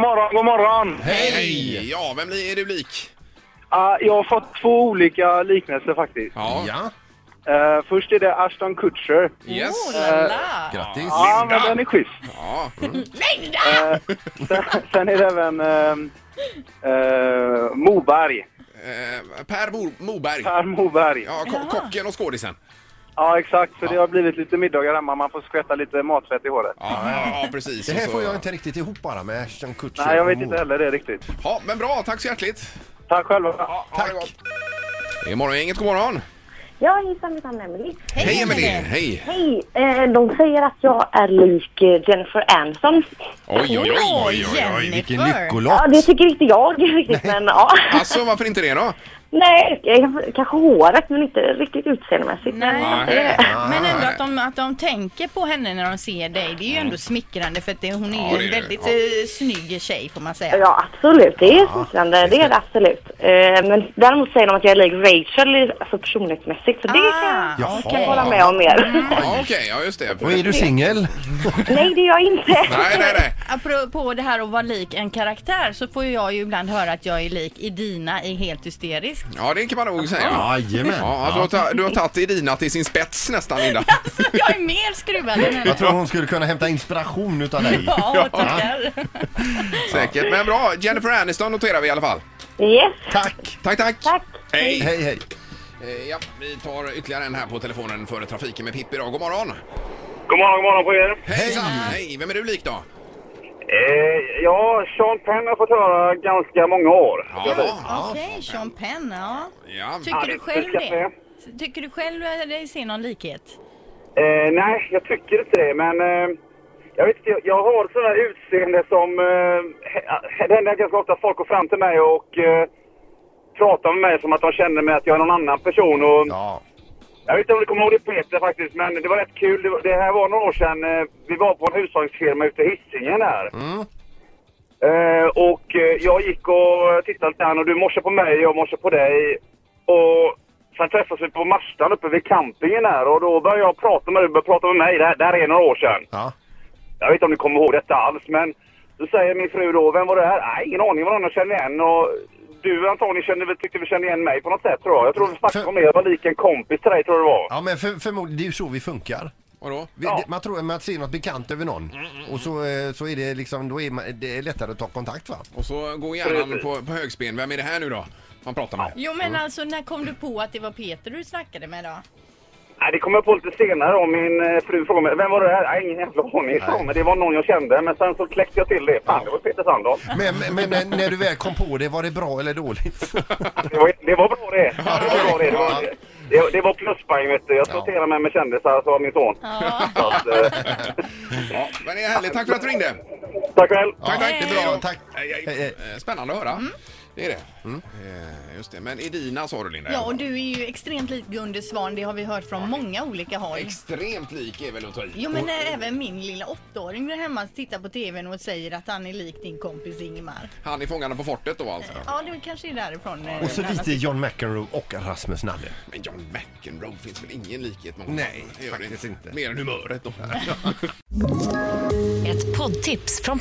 morgon, god morgon! Hej! Ja, vem är du lik? Ah, jag har fått två olika liknelser faktiskt. Ja. Eh, först är det Ashton Kutcher. Yes. Oh Eh, la la! Grattis! Ja, men den är schysst. Ja. Mm. Eh, sen, sen är det även ehm, eh, Moberg. Eh, Per Bo- Moberg. Per Moberg. Ja. Ja, ko- kocken och skådisen. exakt. Så det har blivit lite middagar hemma. Man får skvätta lite matfett i håret. Ja, ja, ja precis. Det Och här så- får jag inte riktigt ihop bara med Ashton Kutcher. Nej, jag vet och inte Mo- heller det riktigt. Ja, men bra. Tack så hjärtligt. Tack själva. Ja, ha det gott. Det är morgongänget. God morgon. Ja, hejsan, mitt namn är Emelie. Hej, Emelie. Emelie. Hej. Hej, eh, de säger att jag är lik eh, Jennifer Aniston. Oj, oj, oj, oj, oj, Jennifer. oj. Vilken Ja, lyckolott! det typ- tycker inte jag riktigt, men ja. Alltså, varför inte det då? Nej, jag- kanske håret, men inte riktigt utseendemässigt. Nej, Men, Nej. Men ändå att de, att de tänker på henne när de ser dig, det är ju ändå smickrande för att det, hon är Mm. Ja, ju det är en det. väldigt Ja. eh, snygg tjej får man säga. ja, absolut. Det är smickrande, det är det absolut. Eh, men däremot säger de att jag är lik Rachel, i- alltså personlighetsmässigt, så det kan jag Ah, Mm. Jaha. okej. hålla med om mer. Ja, okej. Ja, just det. Och är du singel? Nej, det är jag inte. Nej, nej, nej. Apropå det här att vara lik en karaktär så får ju jag ju ibland höra att jag är lik Idina i Helt Hysterisk. Ja, det kan man nog säga. Jajamän! Ja, att du, har ta- du har tagit Edina till sin spets nästan, Linda. Så Alltså, jag är mer skruvad än henne. Jag tror hon skulle kunna hämta inspiration utav dig. Ja, tackar. Säkert. Men bra, Jennifer Aniston noterar vi i alla fall. Yes, Tack! Tack, tack. tack. Hej. Hej, hej! Eh, Ja, vi tar ytterligare en här på telefonen före trafiken med Pippi idag. God morgon. God morgon, god morgon på er. Hejsan. Hej. Vem är du lik då? Eh, ja, Sean Penn har fått höra ganska många år. Ja. Okej, Sean Penn, ja. ja. Tycker du själv det ska det? Tycker du själv eh, dig ser någon likhet? Eh, nej, jag tycker inte det, men eh, jag vet inte, jag, jag har sådana utseende som... Eh, he- det händer ganska ofta att folk går fram till mig och eh, pratar med mig som att de känner mig att jag är någon annan person. Och, Ja. Jag vet inte om du kommer ihåg det Peter faktiskt, men det var rätt kul. Det, var- det här var några år sedan. eh, Vi var på en husvagnsfirma ute i Hisingen här. Eh, och eh, jag gick och tittade lite grann och du morsade på mig och jag morsade på dig. Och sen träffades vi på Marstan uppe vid campingen där och då började jag prata med dig. Du började prata med mig. Det här, det här är några år sedan. ja. Jag vet inte om ni kommer ihåg detta alls, men då säger min fru då, vem var det här? Nej, ingen aning vad någon jag känner igen. Och du antagligen kände, väl- tyckte vi kände igen mig på något sätt tror jag. Jag tror vi snackade För- om det. Jag var lik en kompis till dig tror jag det var. Ja, men för, förmodligen, det är ju så vi funkar. Vadå? Vi, Ja. det- Man tror att man ser något bekant över någon och så, eh, så är det liksom, då är man, det är lättare att ta kontakt va? Och så går hjärnan på, på högspel. Vem är det här nu då? Man pratar med. Jo men alltså när kom du på att det var Peter du snackade med då? Nej, det kom jag på lite senare om min eh, fru frågade mig. Vem var det här? Nej, ingen jävla aning. sa hon, Men det var någon jag kände. Men sen så kläckte jag till det. Fan, det var Peter Sandahl. Men, men, men när- när du väl kom på det, var det bra eller dåligt? Det var, det var bra det. Det var, bra det. Det, var, det, det var pluspoäng vet du. Jag Ja. sorterade mig med kändisar, sa min son. Ja. Så att, eh, Ja, men det är härligt. Tack för att du ringde. Tack, tack väl! Ja, tack. Det är bra, tack. Hej, Hej, hej. hej. Mm. Eh, Spännande att höra. Mm. Det är det. Eh, Just det. Men Edina sa du, Linda. Ja och du är ju extremt lik Gunde Svan, det har vi hört från många olika håll. Extremt lik är väl att ta i. Jo men när även min lilla åttaåring där hemma tittar på tvn och säger att han är lik din kompis Ingemar. Han är fångarna på fortet då alltså. Ja det kanske är därifrån. eh, Och så den här lite sidan. John McEnroe och Rasmus Nalle. Men John McEnroe finns väl ingen likhet med honom? Nej, Det gör det faktiskt inte. Mer än humöret då. Ett poddtips från